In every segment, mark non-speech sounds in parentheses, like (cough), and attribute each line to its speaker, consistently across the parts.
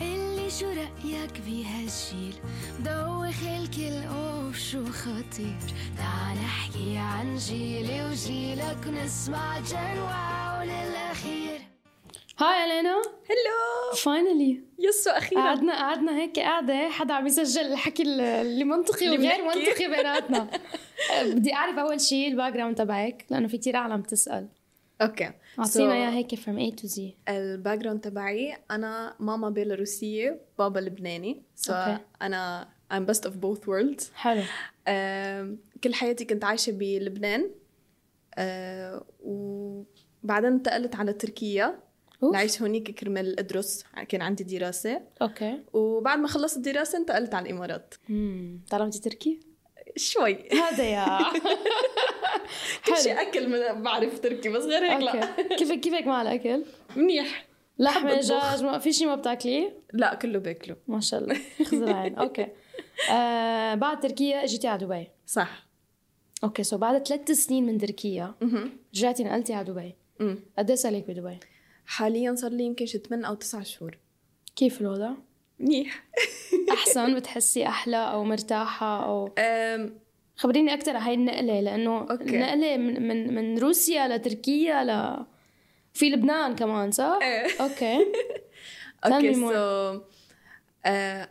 Speaker 1: اللي شو رأيك بهالجيل دوخ الكل اوف شو خطير تعال احكي عن جيلي وجيلك نسمع جن واو للأخير
Speaker 2: هاي نعم. الينا
Speaker 3: هلو
Speaker 2: فاينلي
Speaker 3: يسو اخيرا
Speaker 2: قعدنا قعدنا هيك قاعده حدا عم يسجل الحكي ال- اللي منطقي
Speaker 3: اللي
Speaker 2: وغير
Speaker 3: بنحكي.
Speaker 2: منطقي بيناتنا (laughs) أه، بدي اعرف اول شيء الباك جراوند تبعك لانه في كثير عالم بتسال
Speaker 3: اوكي
Speaker 2: اعطينا اياها هيك from A to Z
Speaker 3: الباك جراوند تبعي انا ماما بيلاروسيه بابا لبناني سو
Speaker 2: أوكي.
Speaker 3: انا I'm best of both worlds
Speaker 2: حلو
Speaker 3: أم، كل حياتي كنت عايشة بلبنان أه، وبعدين انتقلت على تركيا
Speaker 2: أوف.
Speaker 3: لعيش هونيك كرمال ادرس كان عندي دراسة
Speaker 2: اوكي
Speaker 3: وبعد ما خلصت الدراسة انتقلت على الامارات
Speaker 2: امم طلبتي تركي
Speaker 3: شوي
Speaker 2: (laughs) هذا يا
Speaker 3: كل
Speaker 2: حلو
Speaker 3: شيء اكل من- بعرف تركي بس غير هيك لا (laughs)
Speaker 2: اوكي كيفك كيفك مع الاكل
Speaker 3: منيح
Speaker 2: لحمه
Speaker 3: أطبخ.
Speaker 2: دجاج ما في شيء ما بتاكليه
Speaker 3: لا كله باكله
Speaker 2: ما شاء الله
Speaker 3: (laughs)
Speaker 2: خذ العين اوكي آه بعد تركيا اجيتي على دبي
Speaker 3: صح
Speaker 2: اوكي سو بعد ثلاث سنين من تركيا
Speaker 3: مهم.
Speaker 2: رجعتي نقلتي على دبي
Speaker 3: مم.
Speaker 2: قد ايه صار لك بدبي؟
Speaker 3: حاليا صار لي يمكن شي 8 او 9 شهور (laughs)
Speaker 2: كيف الوضع؟
Speaker 3: منيح
Speaker 2: احسن بتحسي احلى او مرتاحه او
Speaker 3: أم،
Speaker 2: خبريني اكثر عن هاي النقله لانه
Speaker 3: أوكي.
Speaker 2: النقله من من من روسيا لتركيا ل في لبنان كمان صح؟
Speaker 3: إيه. (laughs)
Speaker 2: اوكي Tell
Speaker 3: اوكي
Speaker 2: me more.
Speaker 3: سو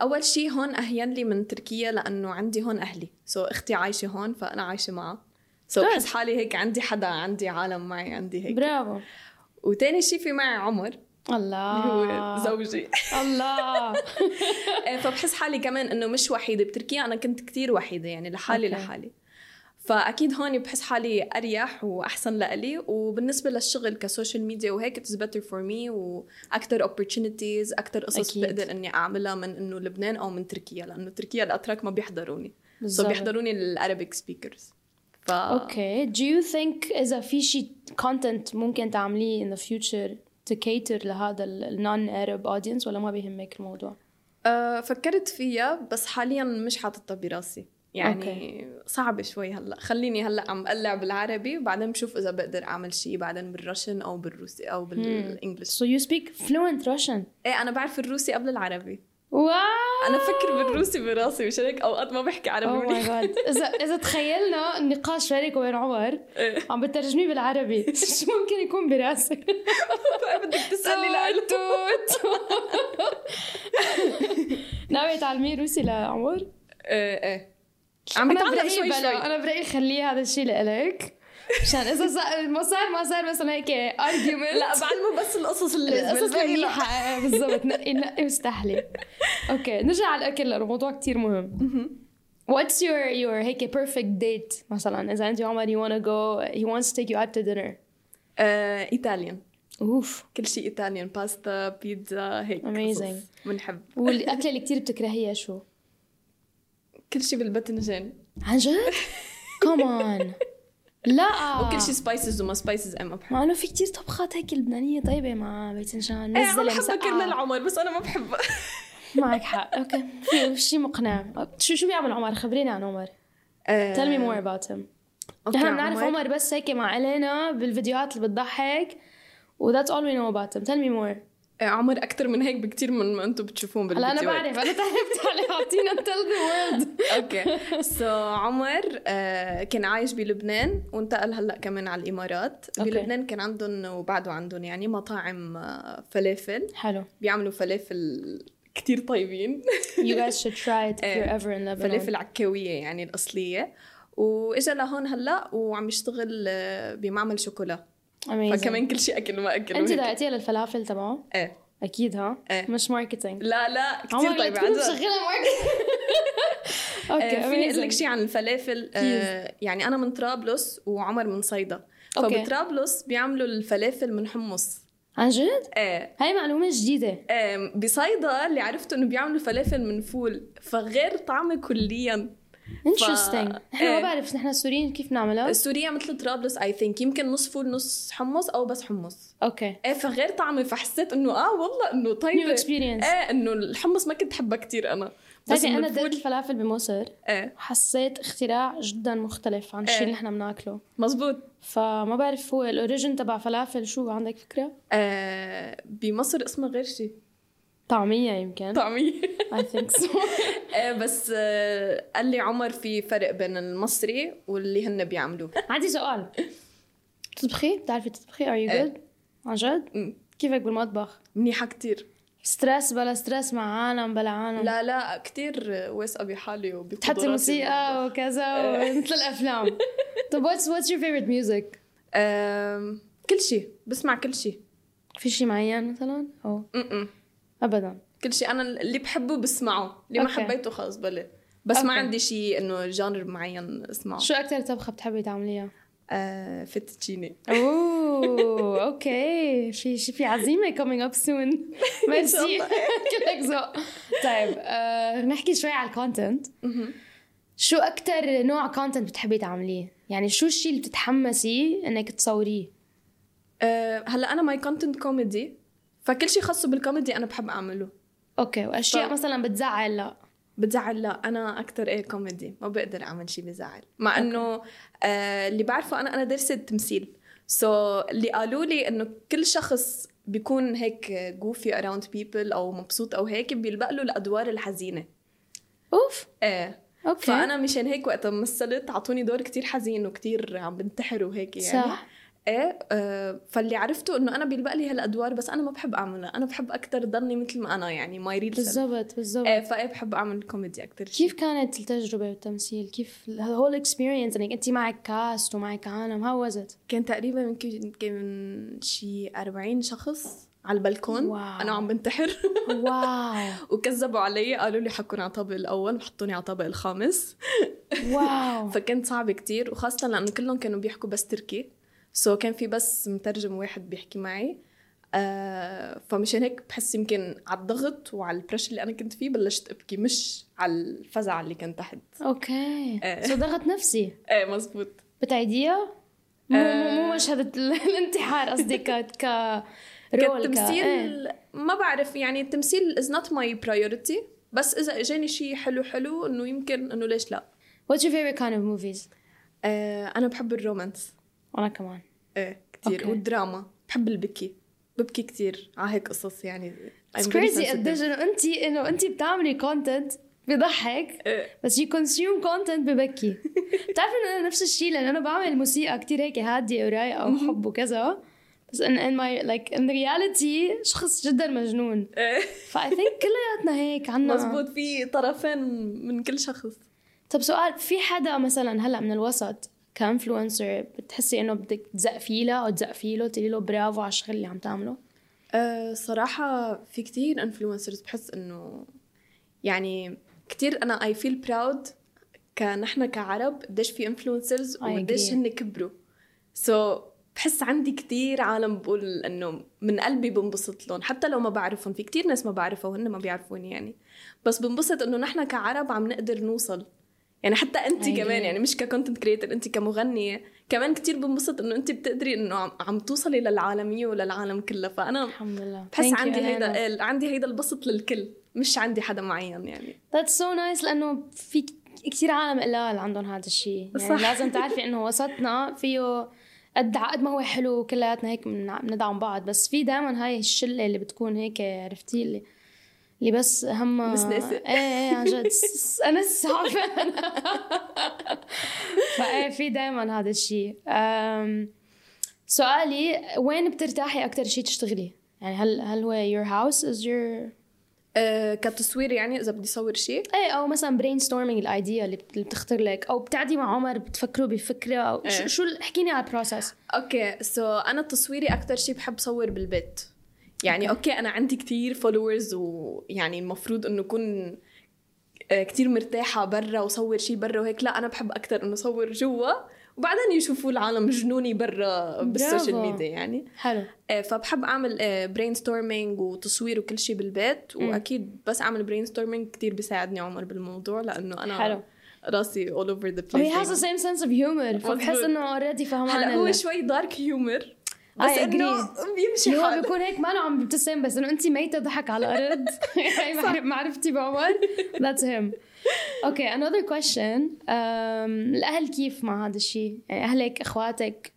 Speaker 3: اول شيء أه، هون اهين لي من تركيا لانه عندي هون اهلي سو اختي عايشه هون فانا عايشه معها سو
Speaker 2: Good.
Speaker 3: بحس حالي هيك عندي حدا عندي عالم معي عندي هيك
Speaker 2: برافو
Speaker 3: وتاني شيء في معي عمر
Speaker 2: الله
Speaker 3: اللي هو زوجي (laughs)
Speaker 2: الله
Speaker 3: إيه، فبحس حالي كمان انه مش وحيده بتركيا انا كنت كتير وحيده يعني لحالي
Speaker 2: أوكي.
Speaker 3: لحالي فاكيد هون بحس حالي اريح واحسن لإلي وبالنسبه للشغل كسوشيال ميديا وهيك اتس بيتر فور مي واكثر opportunities اكثر قصص
Speaker 2: أكيد.
Speaker 3: بقدر اني اعملها من انه لبنان او من تركيا لانه تركيا الاتراك ما بيحضروني سو so
Speaker 2: بالظبط.
Speaker 3: بيحضروني الارابيك سبيكرز ف
Speaker 2: اوكي do you think اذا في شيء content ممكن تعمليه in the future to cater لهذا ال non Arab audience ولا ما بيهمك الموضوع؟
Speaker 3: آه فكرت فيها بس حاليا مش حاططها براسي يعني
Speaker 2: أوكي.
Speaker 3: صعبة شوي هلا خليني هلا عم قلع بالعربي وبعدين بشوف اذا بقدر اعمل شيء بعدين بالرشن او بالروسي او بالانجلش
Speaker 2: So you speak fluent Russian
Speaker 3: ايه انا بعرف الروسي قبل العربي
Speaker 2: واو
Speaker 3: انا بفكر بالروسي براسي مش هيك اوقات ما بحكي عربي
Speaker 2: اوه
Speaker 3: (laughs)
Speaker 2: ماي
Speaker 3: منيح
Speaker 2: جاد اذا اذا تخيلنا النقاش بينك وبين عمر عم بترجميه بالعربي (laughs) شو ممكن يكون براسك؟
Speaker 3: بدك تسالي
Speaker 2: آه.
Speaker 3: لإله
Speaker 2: توت (laughs) ناوي تعلميه روسي لعمر؟
Speaker 3: ايه ايه عم إيه
Speaker 2: أنا
Speaker 3: بتعلم
Speaker 2: برأيي
Speaker 3: شوي
Speaker 2: بلا-
Speaker 3: شوي
Speaker 2: انا برايي خليه هذا الشيء لإلك مشان اذا صار ما صار ما صار مثلا هيك ارجيومنت
Speaker 3: لا بعلمه بس القصص اللي
Speaker 2: القصص
Speaker 3: بالباقي لا.
Speaker 2: المنيحة آه، بالضبط نقي نقي واستحلي اوكي نرجع على الاكل لانه موضوع كثير مهم What's your your هيك perfect date مثلا إذا أنت وعمر you wanna go he wants to take you out to dinner
Speaker 3: آه، ايطاليان
Speaker 2: أوف
Speaker 3: كل شيء ايطاليان باستا بيتزا هيك قصص.
Speaker 2: Amazing.
Speaker 3: بنحب
Speaker 2: والأكلة اللي كثير بتكرهيها شو؟
Speaker 3: كل شيء بالباذنجان
Speaker 2: عن جد؟ كمان لا
Speaker 3: وكل شيء سبايسز وما سبايسز انا ما بحب
Speaker 2: مع إنه في كثير طبخات هيك لبنانية طيبة مع باذنجان
Speaker 3: ايه عم
Speaker 2: نزلة
Speaker 3: بحبها
Speaker 2: مسقعة.
Speaker 3: كرمال عمر بس انا ما
Speaker 2: (laughs)
Speaker 3: بحبها
Speaker 2: معك حق أوكي في شيء مقنع شو شو بيعمل عمر خبرينا عن عمر
Speaker 3: آه،
Speaker 2: (laughs) tell me more about him نحن بنعرف عمر بس هيك مع الينا بالفيديوهات اللي بتضحك و that's all we know about him tell me more
Speaker 3: آه، عمر اكثر من هيك بكثير من ما انتم بتشوفون
Speaker 2: هلا
Speaker 3: بالفيديوهات
Speaker 2: انا
Speaker 3: (laughs)
Speaker 2: بعرف انا تعرفت عليه اعطينا tell the world (laughs)
Speaker 3: اوكي سو عمر آه، كان عايش بلبنان وانتقل هلا كمان على الامارات
Speaker 2: أوكي.
Speaker 3: بلبنان كان عندهم وبعده عندهم يعني مطاعم آه، فلافل
Speaker 2: حلو
Speaker 3: بيعملوا فلافل كتير
Speaker 2: (laughs)
Speaker 3: طيبين
Speaker 2: you guys should try it if
Speaker 3: إيه.
Speaker 2: you're ever in Lebanon
Speaker 3: فلافل عكاويه يعني الاصليه واجا لهون هلا وعم يشتغل آه، بمعمل شوكولا
Speaker 2: amazing
Speaker 3: فكمان كل شيء اكل ما اكل
Speaker 2: انت
Speaker 3: وهيك.
Speaker 2: دقيتيها للفلافل تبعه
Speaker 3: ايه
Speaker 2: اكيد ها
Speaker 3: إيه.
Speaker 2: مش ماركتينج
Speaker 3: لا طيب، لا
Speaker 2: عمر
Speaker 3: كثير
Speaker 2: لا
Speaker 3: طيبة عن
Speaker 2: تكون
Speaker 3: جد
Speaker 2: مشغله
Speaker 3: (laughs)
Speaker 2: ماركتينج
Speaker 3: آه،
Speaker 2: اوكي
Speaker 3: فيني اقول لك
Speaker 2: amazing.
Speaker 3: شيء عن الفلافل آه يعني انا من طرابلس وعمر من صيدا
Speaker 2: أوكي.
Speaker 3: فبطرابلس بيعملوا الفلافل من حمص
Speaker 2: عن جد
Speaker 3: ايه
Speaker 2: هاي معلومه جديده
Speaker 3: آه، بصيدا اللي عرفته انه بيعملوا فلافل من فول فغير طعمه كليا
Speaker 2: interesting نحن ما
Speaker 3: إيه.
Speaker 2: بعرف نحن السوريين كيف نعملها
Speaker 3: سوريا مثل طرابلس اي ثينك يمكن نص فول نص حمص او بس حمص
Speaker 2: اوكي
Speaker 3: ايه فغير طعمه فحسيت انه اه والله انه
Speaker 2: new
Speaker 3: طيبه
Speaker 2: experience
Speaker 3: ايه انه الحمص ما كنت حبها كتير انا بس
Speaker 2: طيب
Speaker 3: من
Speaker 2: انا درت
Speaker 3: الفول
Speaker 2: الفلافل بمصر
Speaker 3: ايه
Speaker 2: حسيت اختراع جدا مختلف عن الشيء
Speaker 3: إيه.
Speaker 2: اللي نحن بناكله
Speaker 3: مزبوط
Speaker 2: فما بعرف هو الاوريجن تبع فلافل شو عندك فكره
Speaker 3: آه بمصر اسمها غير شيء
Speaker 2: طعمية يمكن
Speaker 3: طعمية
Speaker 2: I think so
Speaker 3: (laughs) آه، بس آه، قال لي عمر في فرق بين المصري واللي هن بيعملوه
Speaker 2: عندي سؤال بتطبخي؟ بتعرفي تطبخي؟ Are you
Speaker 3: إيه.
Speaker 2: good؟ عن جد؟
Speaker 3: أمم.
Speaker 2: كيفك بالمطبخ؟
Speaker 3: منيحة كتير
Speaker 2: ستريس بلا ستريس مع عالم بلا عالم
Speaker 3: لا لا كتير واثقة بحالي وبقدراتي
Speaker 2: تحطي موسيقى وكذا
Speaker 3: إيه.
Speaker 2: مثل الافلام
Speaker 3: (laughs)
Speaker 2: طب what's what's your favorite music؟
Speaker 3: آم، كل شيء بسمع كل شيء
Speaker 2: في شيء معين مثلا؟ او
Speaker 3: م-م.
Speaker 2: ابدا
Speaker 3: كل شيء انا اللي بحبه بسمعه اللي ما
Speaker 2: أوكي.
Speaker 3: حبيته خلص بلا بس ما
Speaker 2: أوكي.
Speaker 3: عندي شيء انه جانر معين اسمعه
Speaker 2: شو اكثر طبخة بتحبي تعمليها؟
Speaker 3: آه فتتشيني
Speaker 2: اوه اوكي في شي في عزيمه coming up (laughs) soon ميرسي (laughs)
Speaker 3: الله.
Speaker 2: كلك ذوق طيب آه، نحكي شوي على الكونتنت شو اكثر نوع كونتنت بتحبي تعمليه؟ يعني شو الشيء اللي بتتحمسي انك تصوريه؟
Speaker 3: آه هلا انا ماي كونتنت كوميدي فكل شيء خاصه بالكوميدي انا بحب اعمله
Speaker 2: اوكي واشياء
Speaker 3: طيب.
Speaker 2: مثلا بتزعل لا
Speaker 3: بتزعل لا انا اكثر ايه كوميدي ما بقدر اعمل شيء بزعل مع انه آه اللي بعرفه انا انا درست تمثيل سو so, اللي قالوا لي انه كل شخص بيكون هيك جوفي اراوند بيبل او مبسوط او هيك بيلبق له الادوار الحزينه
Speaker 2: اوف
Speaker 3: ايه
Speaker 2: اوكي
Speaker 3: فانا مشان هيك وقت مثلت اعطوني دور كتير حزين وكتير عم بنتحر وهيك يعني
Speaker 2: صح
Speaker 3: ايه آه، فاللي عرفته انه انا بيلبق لي هالادوار بس انا ما بحب اعملها انا بحب اكثر ضلني مثل ما انا يعني ماي ريل
Speaker 2: بالضبط بالضبط
Speaker 3: ايه فايه بحب اعمل كوميدي اكثر
Speaker 2: كيف كانت التجربة بالتمثيل؟ كيف الهول اكسبيرينس انك انت يعني معك كاست ومعك عالم هاو واز ات؟
Speaker 3: كان تقريبا يمكن كان شي 40 شخص على البلكون
Speaker 2: واو.
Speaker 3: انا عم بنتحر (laughs)
Speaker 2: واو
Speaker 3: وكذبوا علي قالوا لي حكوني على الطابق الاول وحطوني على الطابق الخامس
Speaker 2: واو
Speaker 3: فكانت صعبة كتير وخاصة لأنه كلهم كانوا بيحكوا بس تركي سو كان في بس مترجم واحد بيحكي معي آه فمشان هيك بحس يمكن على الضغط وعلى البريشر اللي أنا كنت فيه بلشت أبكي مش على الفزعة اللي كان تحت
Speaker 2: اوكي
Speaker 3: إيه.
Speaker 2: سو ضغط نفسي
Speaker 3: ايه مزبوط
Speaker 2: بتعيديها؟ مو مو مو
Speaker 3: آه.
Speaker 2: مشهد ال- (laughs) الانتحار قصدي ك ك رول ك إيه.
Speaker 3: كالتمثيل ما بعرف يعني التمثيل is not my priority بس إذا إجاني شيء حلو حلو إنه يمكن إنه ليش لا
Speaker 2: What's your favorite kind of movies؟
Speaker 3: آه أنا بحب الرومانس
Speaker 2: وانا كمان
Speaker 3: ايه كثير
Speaker 2: أوكي.
Speaker 3: والدراما بحب البكي ببكي كثير على هيك قصص يعني I'm
Speaker 2: It's
Speaker 3: very
Speaker 2: crazy
Speaker 3: sensitive.
Speaker 2: قديش انه انت انه انت بتعملي كونتنت بضحك
Speaker 3: إيه.
Speaker 2: بس you consume content
Speaker 3: (laughs)
Speaker 2: ببكي بتعرفي انه انا نفس الشيء لانه انا بعمل موسيقى كتير هيك هادية ورايقة وحب وكذا بس in, in my like in reality شخص جدا مجنون
Speaker 3: إيه.
Speaker 2: ف I
Speaker 3: (laughs)
Speaker 2: think كلياتنا هيك عنا
Speaker 3: مزبوط في طرفين من كل شخص
Speaker 2: طب سؤال في حدا مثلا هلا من الوسط كانفلونسر بتحسي انه بدك تزقفي له او تزقفي له تقولي له برافو على الشغل اللي عم تعمله
Speaker 3: أه صراحة في كتير انفلونسرز بحس انه يعني كتير انا اي فيل براود كنحن كعرب قديش في انفلونسرز
Speaker 2: I
Speaker 3: وقديش
Speaker 2: agree.
Speaker 3: هن كبروا سو so, بحس عندي كتير عالم بقول انه من قلبي بنبسط لهم حتى لو ما بعرفهم في كتير ناس ما بعرفها وهن ما بيعرفوني يعني بس بنبسط انه نحن كعرب عم نقدر نوصل يعني حتى انت
Speaker 2: I
Speaker 3: كمان
Speaker 2: agree.
Speaker 3: يعني مش ككونتنت كريتر انت كمغنيه كمان كتير بنبسط انه انت بتقدري انه عم, عم توصلي للعالميه وللعالم كله فانا
Speaker 2: الحمد لله
Speaker 3: بحس
Speaker 2: Thank you,
Speaker 3: عندي
Speaker 2: Elena.
Speaker 3: هيدا ال- عندي هيدا البسط للكل مش عندي حدا معين يعني
Speaker 2: That's so nice لأنه في ك- كتير عالم قلال عندهم هذا الشيء يعني
Speaker 3: صح.
Speaker 2: لازم تعرفي إنه وسطنا فيه قد ع- قد ما هو حلو كلياتنا هيك من- بندعم بعض بس في دائما هاي الشلة اللي بتكون هيك عرفتي اللي اللي بس هم
Speaker 3: نسناسة.
Speaker 2: ايه ايه عن جد س- س- انا (laughs) السعفان فايه في دائما هذا الشيء أم، سؤالي وين بترتاحي اكثر شيء تشتغلي؟ يعني هل هل هو your house is your
Speaker 3: أه كتصوير يعني اذا بدي صور شيء
Speaker 2: ايه او مثلا برين ستورمينج الايديا اللي بت- اللي بتخطر لك او بتعدي مع عمر بتفكروا بفكره او
Speaker 3: إيه.
Speaker 2: شو, شو ال- احكيني على البروسس
Speaker 3: اوكي سو انا تصويري اكثر شيء بحب صور بالبيت يعني اوكي انا عندي كتير يعني فولورز ويعني المفروض انه اكون آه، كتير مرتاحة برا وصور شيء برا وهيك لا أنا بحب أكتر إنه صور جوا وبعدين يشوفوا العالم جنوني برا بالسوشيال
Speaker 2: برافو.
Speaker 3: ميديا يعني
Speaker 2: حلو
Speaker 3: آه، فبحب اعمل برين ستورمينج وتصوير وكل شيء بالبيت
Speaker 2: مم.
Speaker 3: واكيد بس اعمل برين ستورمينج كثير بيساعدني عمر بالموضوع لانه انا
Speaker 2: حلو. Oh,
Speaker 3: راسي اول اوفر ذا
Speaker 2: وهي هاز ذا
Speaker 3: بليس
Speaker 2: سيم سنس اوف هيومر فبحس
Speaker 3: مزبوط.
Speaker 2: انه اوريدي فهمان
Speaker 3: يعني هلا
Speaker 2: ال-
Speaker 3: هو شوي دارك هيومر
Speaker 2: I
Speaker 3: بس انه
Speaker 2: agree.
Speaker 3: بيمشي
Speaker 2: اللي هو
Speaker 3: حاله
Speaker 2: بيكون هيك ما له عم بيبتسم بس انه انت ميته ضحك على يعني الارض
Speaker 3: (laughs)
Speaker 2: (laughs) هاي معر- معرفتي بعمر ذاتس هيم اوكي انذر كويشن الاهل كيف مع هذا الشيء؟ يعني اهلك اخواتك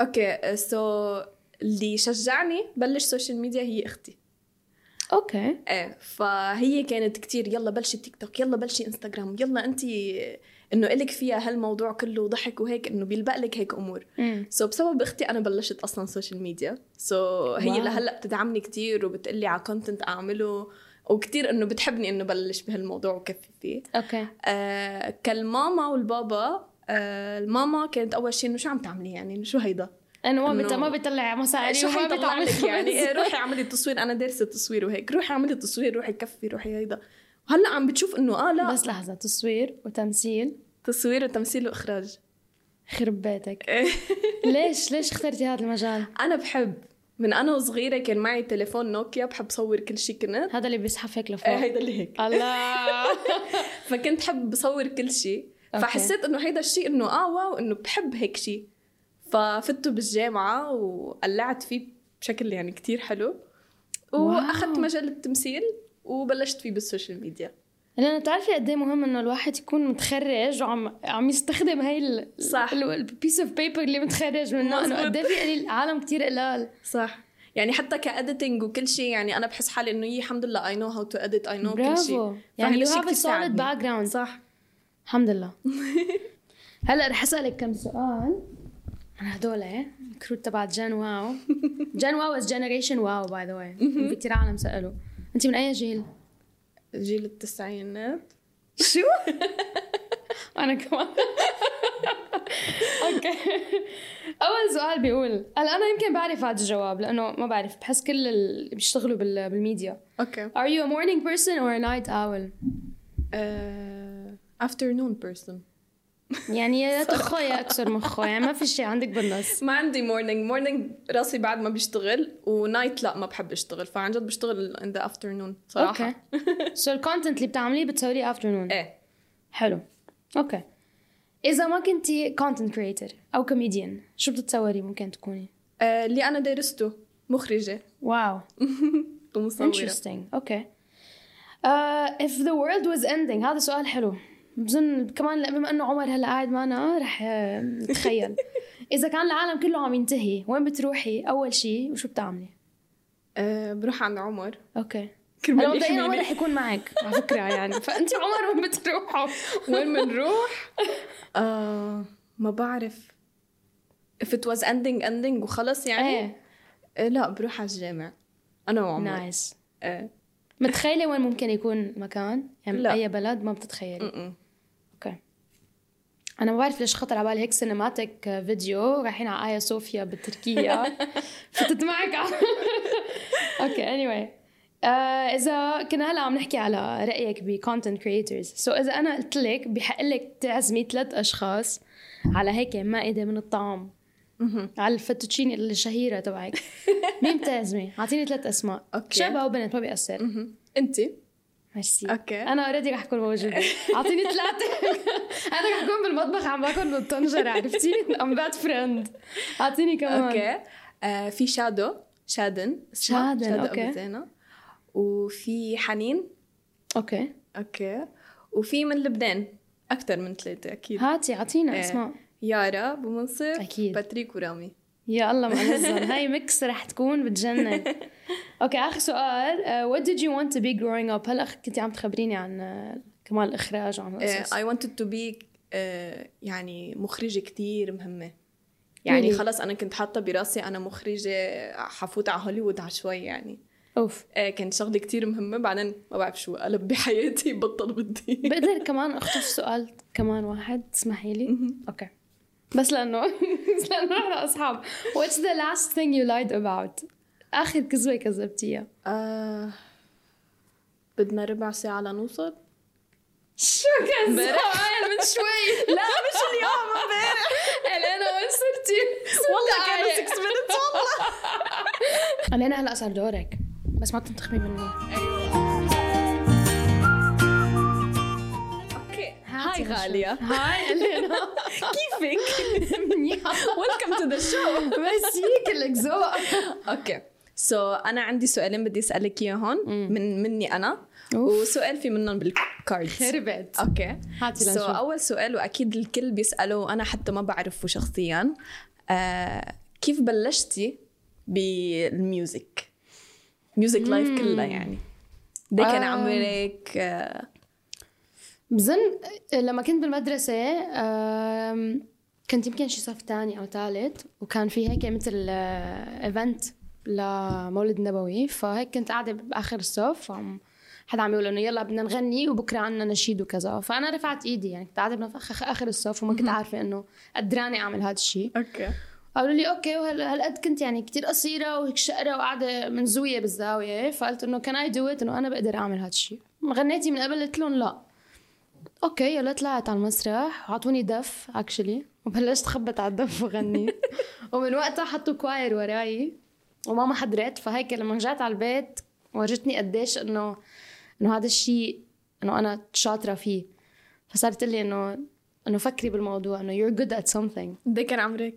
Speaker 3: اوكي سو اللي شجعني بلش سوشيال ميديا هي اختي
Speaker 2: اوكي
Speaker 3: ايه فهي كانت كتير يلا بلشي تيك توك يلا بلشي انستغرام يلا انت انه الك فيها هالموضوع كله ضحك وهيك انه بيلبق لك هيك امور
Speaker 2: مم.
Speaker 3: سو so بسبب اختي انا بلشت اصلا سوشيال ميديا سو so هي
Speaker 2: واو.
Speaker 3: لهلا بتدعمني كتير وبتقلي على كونتنت اعمله وكتير انه بتحبني انه بلش بهالموضوع وكفي فيه
Speaker 2: اوكي
Speaker 3: آه كالماما والبابا آه الماما كانت اول شيء انه شو عم تعملي يعني إنه شو هيدا
Speaker 2: انا ما
Speaker 3: إنه-
Speaker 2: بت... ما بطلع مصاري
Speaker 3: شو
Speaker 2: وما
Speaker 3: حيطلع
Speaker 2: بتعمل (laughs)
Speaker 3: لك يعني إيه،
Speaker 2: خبز.
Speaker 3: روحي اعملي تصوير انا دارسه تصوير وهيك روحي اعملي تصوير روحي كفي روحي هيدا هلا عم بتشوف انه اه لا
Speaker 2: بس لحظه تصوير وتمثيل
Speaker 3: تصوير وتمثيل واخراج
Speaker 2: خرب بيتك ليش ليش اخترتي هذا المجال
Speaker 3: انا بحب من انا وصغيره كان معي تليفون نوكيا بحب صور كل شيء كنت
Speaker 2: هذا اللي بيزحف هيك
Speaker 3: آه،
Speaker 2: لفوق
Speaker 3: هيدا اللي هيك
Speaker 2: الله
Speaker 3: فكنت حب بصور كل شيء
Speaker 2: أوكي.
Speaker 3: فحسيت انه هيدا الشيء انه اه واو انه بحب هيك شيء ففتوا بالجامعه وقلعت فيه بشكل يعني كتير حلو واخذت
Speaker 2: واو.
Speaker 3: مجال التمثيل وبلشت فيه بالسوشيال ميديا
Speaker 2: لانه بتعرفي قد ايه مهم انه الواحد يكون متخرج وعم عم يستخدم هاي ال...
Speaker 3: صح.
Speaker 2: البيس اوف بيبر اللي متخرج منه انه
Speaker 3: مزبوط.
Speaker 2: قد ايه في قليل عالم كثير قلال
Speaker 3: صح يعني حتى كاديتنج وكل شيء يعني انا بحس حالي انه يي الحمد لله اي نو هاو تو اديت اي نو كل
Speaker 2: برافو
Speaker 3: شيء
Speaker 2: يعني
Speaker 3: فهيدا
Speaker 2: يو
Speaker 3: الشيء
Speaker 2: هاف
Speaker 3: كتير
Speaker 2: سوليد
Speaker 3: ساعدني.
Speaker 2: باك جراوند
Speaker 3: صح (laughs)
Speaker 2: الحمد لله هلا رح اسالك كم سؤال عن هدول ايه الكرو تبع جان
Speaker 3: (laughs)
Speaker 2: واو جان واو از جنريشن واو باي ذا واي في كثير عالم سالوا انت من اي جيل؟
Speaker 3: جيل
Speaker 2: (laughs)
Speaker 3: التسعينات
Speaker 2: شو؟ انا كمان اوكي اول سؤال بيقول هلا انا يمكن بعرف هذا الجواب لانه ما بعرف بحس كل اللي بيشتغلوا بال- بالميديا
Speaker 3: اوكي
Speaker 2: Are you a morning person or a night owl؟
Speaker 3: آه، افترنون بيرسون
Speaker 2: يعني يا تخو يا اكسر مخو يعني ما في شيء عندك بالنص
Speaker 3: ما عندي مورنينج مورنينج راسي بعد ما بيشتغل ونايت لا ما بحب اشتغل فعن جد بشتغل ان ذا افترنون صراحه (laughs)
Speaker 2: اوكي سو الكونتنت اللي بتعمليه بتسويه افترنون
Speaker 3: ايه
Speaker 2: حلو اوكي اذا ما كنتي كونتنت كريتر او كوميديان شو بتتصوري ممكن تكوني؟
Speaker 3: آه، اللي انا درسته (laughs) مخرجه
Speaker 2: واو
Speaker 3: ومصوره
Speaker 2: interesting اوكي uh, if the world was ending هذا سؤال حلو بظن كمان لأ- بما انه عمر هلا قاعد معنا رح آه، نتخيل اذا كان العالم كله عم ينتهي وين بتروحي اول شيء وشو بتعملي
Speaker 3: آه، بروح عند عمر
Speaker 2: اوكي
Speaker 3: كرمال
Speaker 2: هلا مبدئيا عمر
Speaker 3: يحميني.
Speaker 2: رح يكون معك على فكره يعني (laughs) فانت عمر وين بتروحوا
Speaker 3: وين بنروح؟ (laughs) آه ما بعرف if it was ending ending وخلص يعني
Speaker 2: ايه
Speaker 3: آه لا بروح على الجامع انا وعمر
Speaker 2: نايس
Speaker 3: ايه
Speaker 2: متخيله وين ممكن يكون مكان يعني
Speaker 3: لا.
Speaker 2: اي بلد ما بتتخيلي
Speaker 3: م-م.
Speaker 2: اوكي انا ما بعرف ليش خطر على بالي هيك سينماتيك فيديو رايحين على ايا صوفيا بتركيا
Speaker 3: (laughs)
Speaker 2: فتت (laughs) معك على- اوكي اني anyway. Uh, اذا كنا هلا عم نحكي على رايك بكونتنت كريترز سو اذا انا قلت لك بحق لك تعزمي ثلاث اشخاص على هيك مائده من الطعام
Speaker 3: مهم.
Speaker 2: على الفتوتشيني الشهيره تبعك
Speaker 3: (laughs)
Speaker 2: مين بتعزمي؟ اعطيني ثلاث اسماء
Speaker 3: أوكي.
Speaker 2: شاب او بنت ما بيأثر
Speaker 3: مهم. انت
Speaker 2: ميرسي
Speaker 3: أوكي.
Speaker 2: انا اوريدي رح اكون
Speaker 3: (laughs)
Speaker 2: موجوده اعطيني (laughs) ثلاثه انا رح اكون بالمطبخ عم باكل بالطنجره عرفتي ام باد فريند اعطيني كمان
Speaker 3: اوكي آه في شادو شادن اسمها.
Speaker 2: شادن،
Speaker 3: شادو
Speaker 2: أوكي.
Speaker 3: ابو زينه وفي حنين
Speaker 2: اوكي
Speaker 3: اوكي وفي من لبنان اكثر من ثلاثه اكيد
Speaker 2: هاتي اعطينا
Speaker 3: إيه.
Speaker 2: اسماء
Speaker 3: يارا ابو منصف
Speaker 2: أكيد.
Speaker 3: باتريك ورامي
Speaker 2: يا
Speaker 3: (laughs)
Speaker 2: الله معزم هاي ميكس رح تكون بتجنن اوكي اخر سؤال uh, what did you want to be growing up هلا كنت عم تخبريني عن آه، كمان الاخراج وعن القصص
Speaker 3: اي آه، wanted تو بي يعني مخرجه كتير مهمه يعني
Speaker 2: Really?
Speaker 3: خلص انا كنت حاطه براسي انا مخرجه حفوت على هوليوود على شوي يعني
Speaker 2: اوف
Speaker 3: آه، كان شغله كتير مهمه بعدين ما بعرف شو قلب بحياتي بطل بدي
Speaker 2: بقدر كمان اخطف سؤال كمان واحد تسمحي لي اوكي بس لانه (laughs) بس لانه نحن اصحاب what's the last thing you lied about اخر كذبه كذبتيها
Speaker 3: آه، بدنا ربع ساعه (laughs) لنوصل
Speaker 2: شو كذبه من شوي
Speaker 3: لا مش اليوم امبارح
Speaker 2: الينا وين صرتي
Speaker 3: والله كانوا 6 minutes (laughs) والله
Speaker 2: الينا هلا صار دورك بس ما تنتخبي مني
Speaker 3: اوكي
Speaker 2: هاتي
Speaker 3: هاي غاليه
Speaker 2: هاي الينا (laughs)
Speaker 3: كيفك
Speaker 2: منيحه
Speaker 3: ويلكم تو ذا شو
Speaker 2: ميرسي كلك ذوق
Speaker 3: اوكي سو so, انا عندي سؤالين بدي اسالك اياهم من مني انا
Speaker 2: أوف.
Speaker 3: وسؤال في منهم بالكاردز
Speaker 2: خربت
Speaker 3: اوكي
Speaker 2: هاتي
Speaker 3: سو so,
Speaker 2: لنشوف.
Speaker 3: اول سؤال واكيد الكل بيساله وانا حتى ما بعرفه شخصيا آه, كيف بلشتي بالميوزك ميوزك لايف كلها يعني ده كان عمرك آه،
Speaker 2: بظن لما كنت بالمدرسة آم، كنت يمكن شي صف تاني أو تالت وكان في هيك مثل ايفنت لمولد نبوي فهيك كنت قاعدة بآخر الصف وعم حدا عم يقول انه يلا بدنا نغني وبكره عنا نشيد وكذا فانا رفعت ايدي يعني كنت قاعده بنف- اخر الصف وما كنت عارفه انه قدراني اعمل هذا الشيء
Speaker 3: اوكي
Speaker 2: قالوا لي اوكي وهل- هالقد كنت يعني كتير قصيره وهيك شقره وقاعده منزويه بالزاويه فقلت انه كان اي دو انه انا بقدر اعمل هذا الشيء غنيتي من قبل قلت لهم لا اوكي يلا طلعت على المسرح وعطوني دف اكشلي وبلشت خبط على الدف وغني ومن وقتها حطوا كواير وراي وماما حضرت فهيك لما رجعت على البيت ورجتني قديش انه انه هذا الشيء انه انا شاطره فيه فصارت تقول لي انه انه فكري بالموضوع انه you're good at something
Speaker 3: ده كان عمرك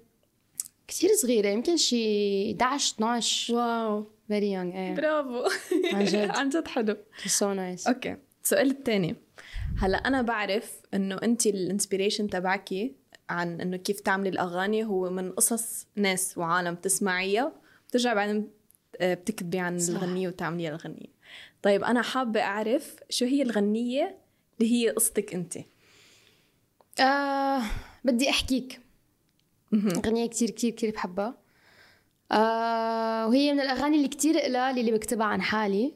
Speaker 2: كتير صغيرة يمكن شي 11 12
Speaker 3: واو
Speaker 2: very young ايه
Speaker 3: برافو
Speaker 2: عن جد.
Speaker 3: (laughs) عن جد حلو
Speaker 2: it was so nice
Speaker 3: اوكي السؤال الثاني هلا انا بعرف انه انت الانسبيريشن تبعكي عن انه كيف تعملي الاغاني هو من قصص ناس وعالم بتسمعيها بترجع بعدين آه، بتكتبي عن
Speaker 2: صح.
Speaker 3: الغنية وتعمليها الغنية طيب انا حابة اعرف شو هي الغنية اللي هي قصتك انت
Speaker 2: آه بدي احكيك اغنية كتير كتير كتير بحبها آه وهي من الاغاني اللي كتير قلال اللي بكتبها عن حالي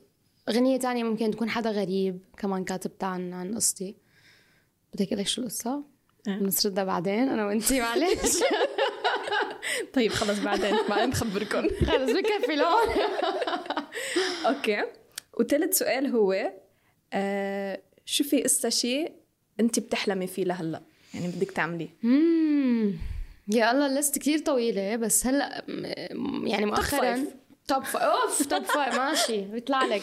Speaker 2: اغنية تانية ممكن تكون حدا غريب كمان كاتبتها عن عن قصتي بدك اقول لك شو القصة؟
Speaker 3: إيه.
Speaker 2: بنسردها بعدين انا وانتي معلش (laughs)
Speaker 3: طيب خلص (laughs) بعدين بعدين بخبركم
Speaker 2: خلص بكفي لون
Speaker 3: اوكي وثالث سؤال هو آه شو في قصة شيء انت بتحلمي فيه لهلا يعني بدك تعمليه
Speaker 2: مم. يا الله الليست كتير طويلة بس هلا م- يعني مؤخرا
Speaker 3: فايف.
Speaker 2: توب فايف اوف توب فايف ماشي بيطلع لك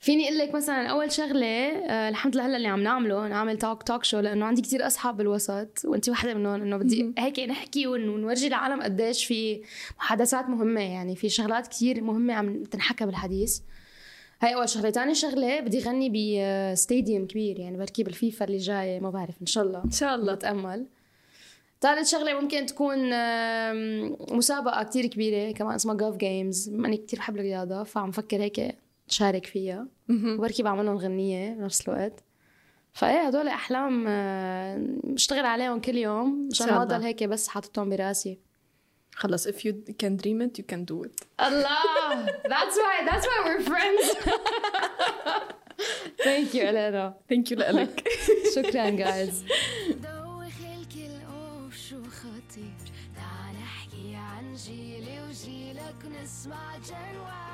Speaker 2: فيني اقول لك مثلا اول شغله آه الحمد لله هلا اللي عم نعمله نعمل توك توك شو لانه عندي كتير اصحاب بالوسط وانت وحده منهم انه بدي هيك نحكي ون- ونورجي العالم قديش في محادثات مهمه يعني في شغلات كتير مهمه عم تنحكى بالحديث هاي اول شغله تاني شغله بدي غني بستاديوم كبير يعني بركي بالفيفا اللي جايه ما بعرف ان شاء الله
Speaker 3: ان شاء الله
Speaker 2: بتأمل ثالث شغلة ممكن تكون آم، مسابقة كتير كبيرة كمان اسمها جوف جيمز أنا كتير بحب الرياضة فعم فكر هيك شارك فيها وبركي بعملهم غنية بنفس الوقت فايه هدول أحلام آه، بشتغل عليهم كل يوم مشان
Speaker 3: شاء
Speaker 2: ما
Speaker 3: الله.
Speaker 2: أضل هيك بس حاططهم براسي
Speaker 3: خلص if you can dream it you can do it
Speaker 2: الله that's why that's why we're friends (laughs) thank you Elena
Speaker 3: thank you لك
Speaker 2: شكرا guys
Speaker 1: دوخ الكل شو خطير تعال احكي عن جيلي وجيلك نسمع جنوا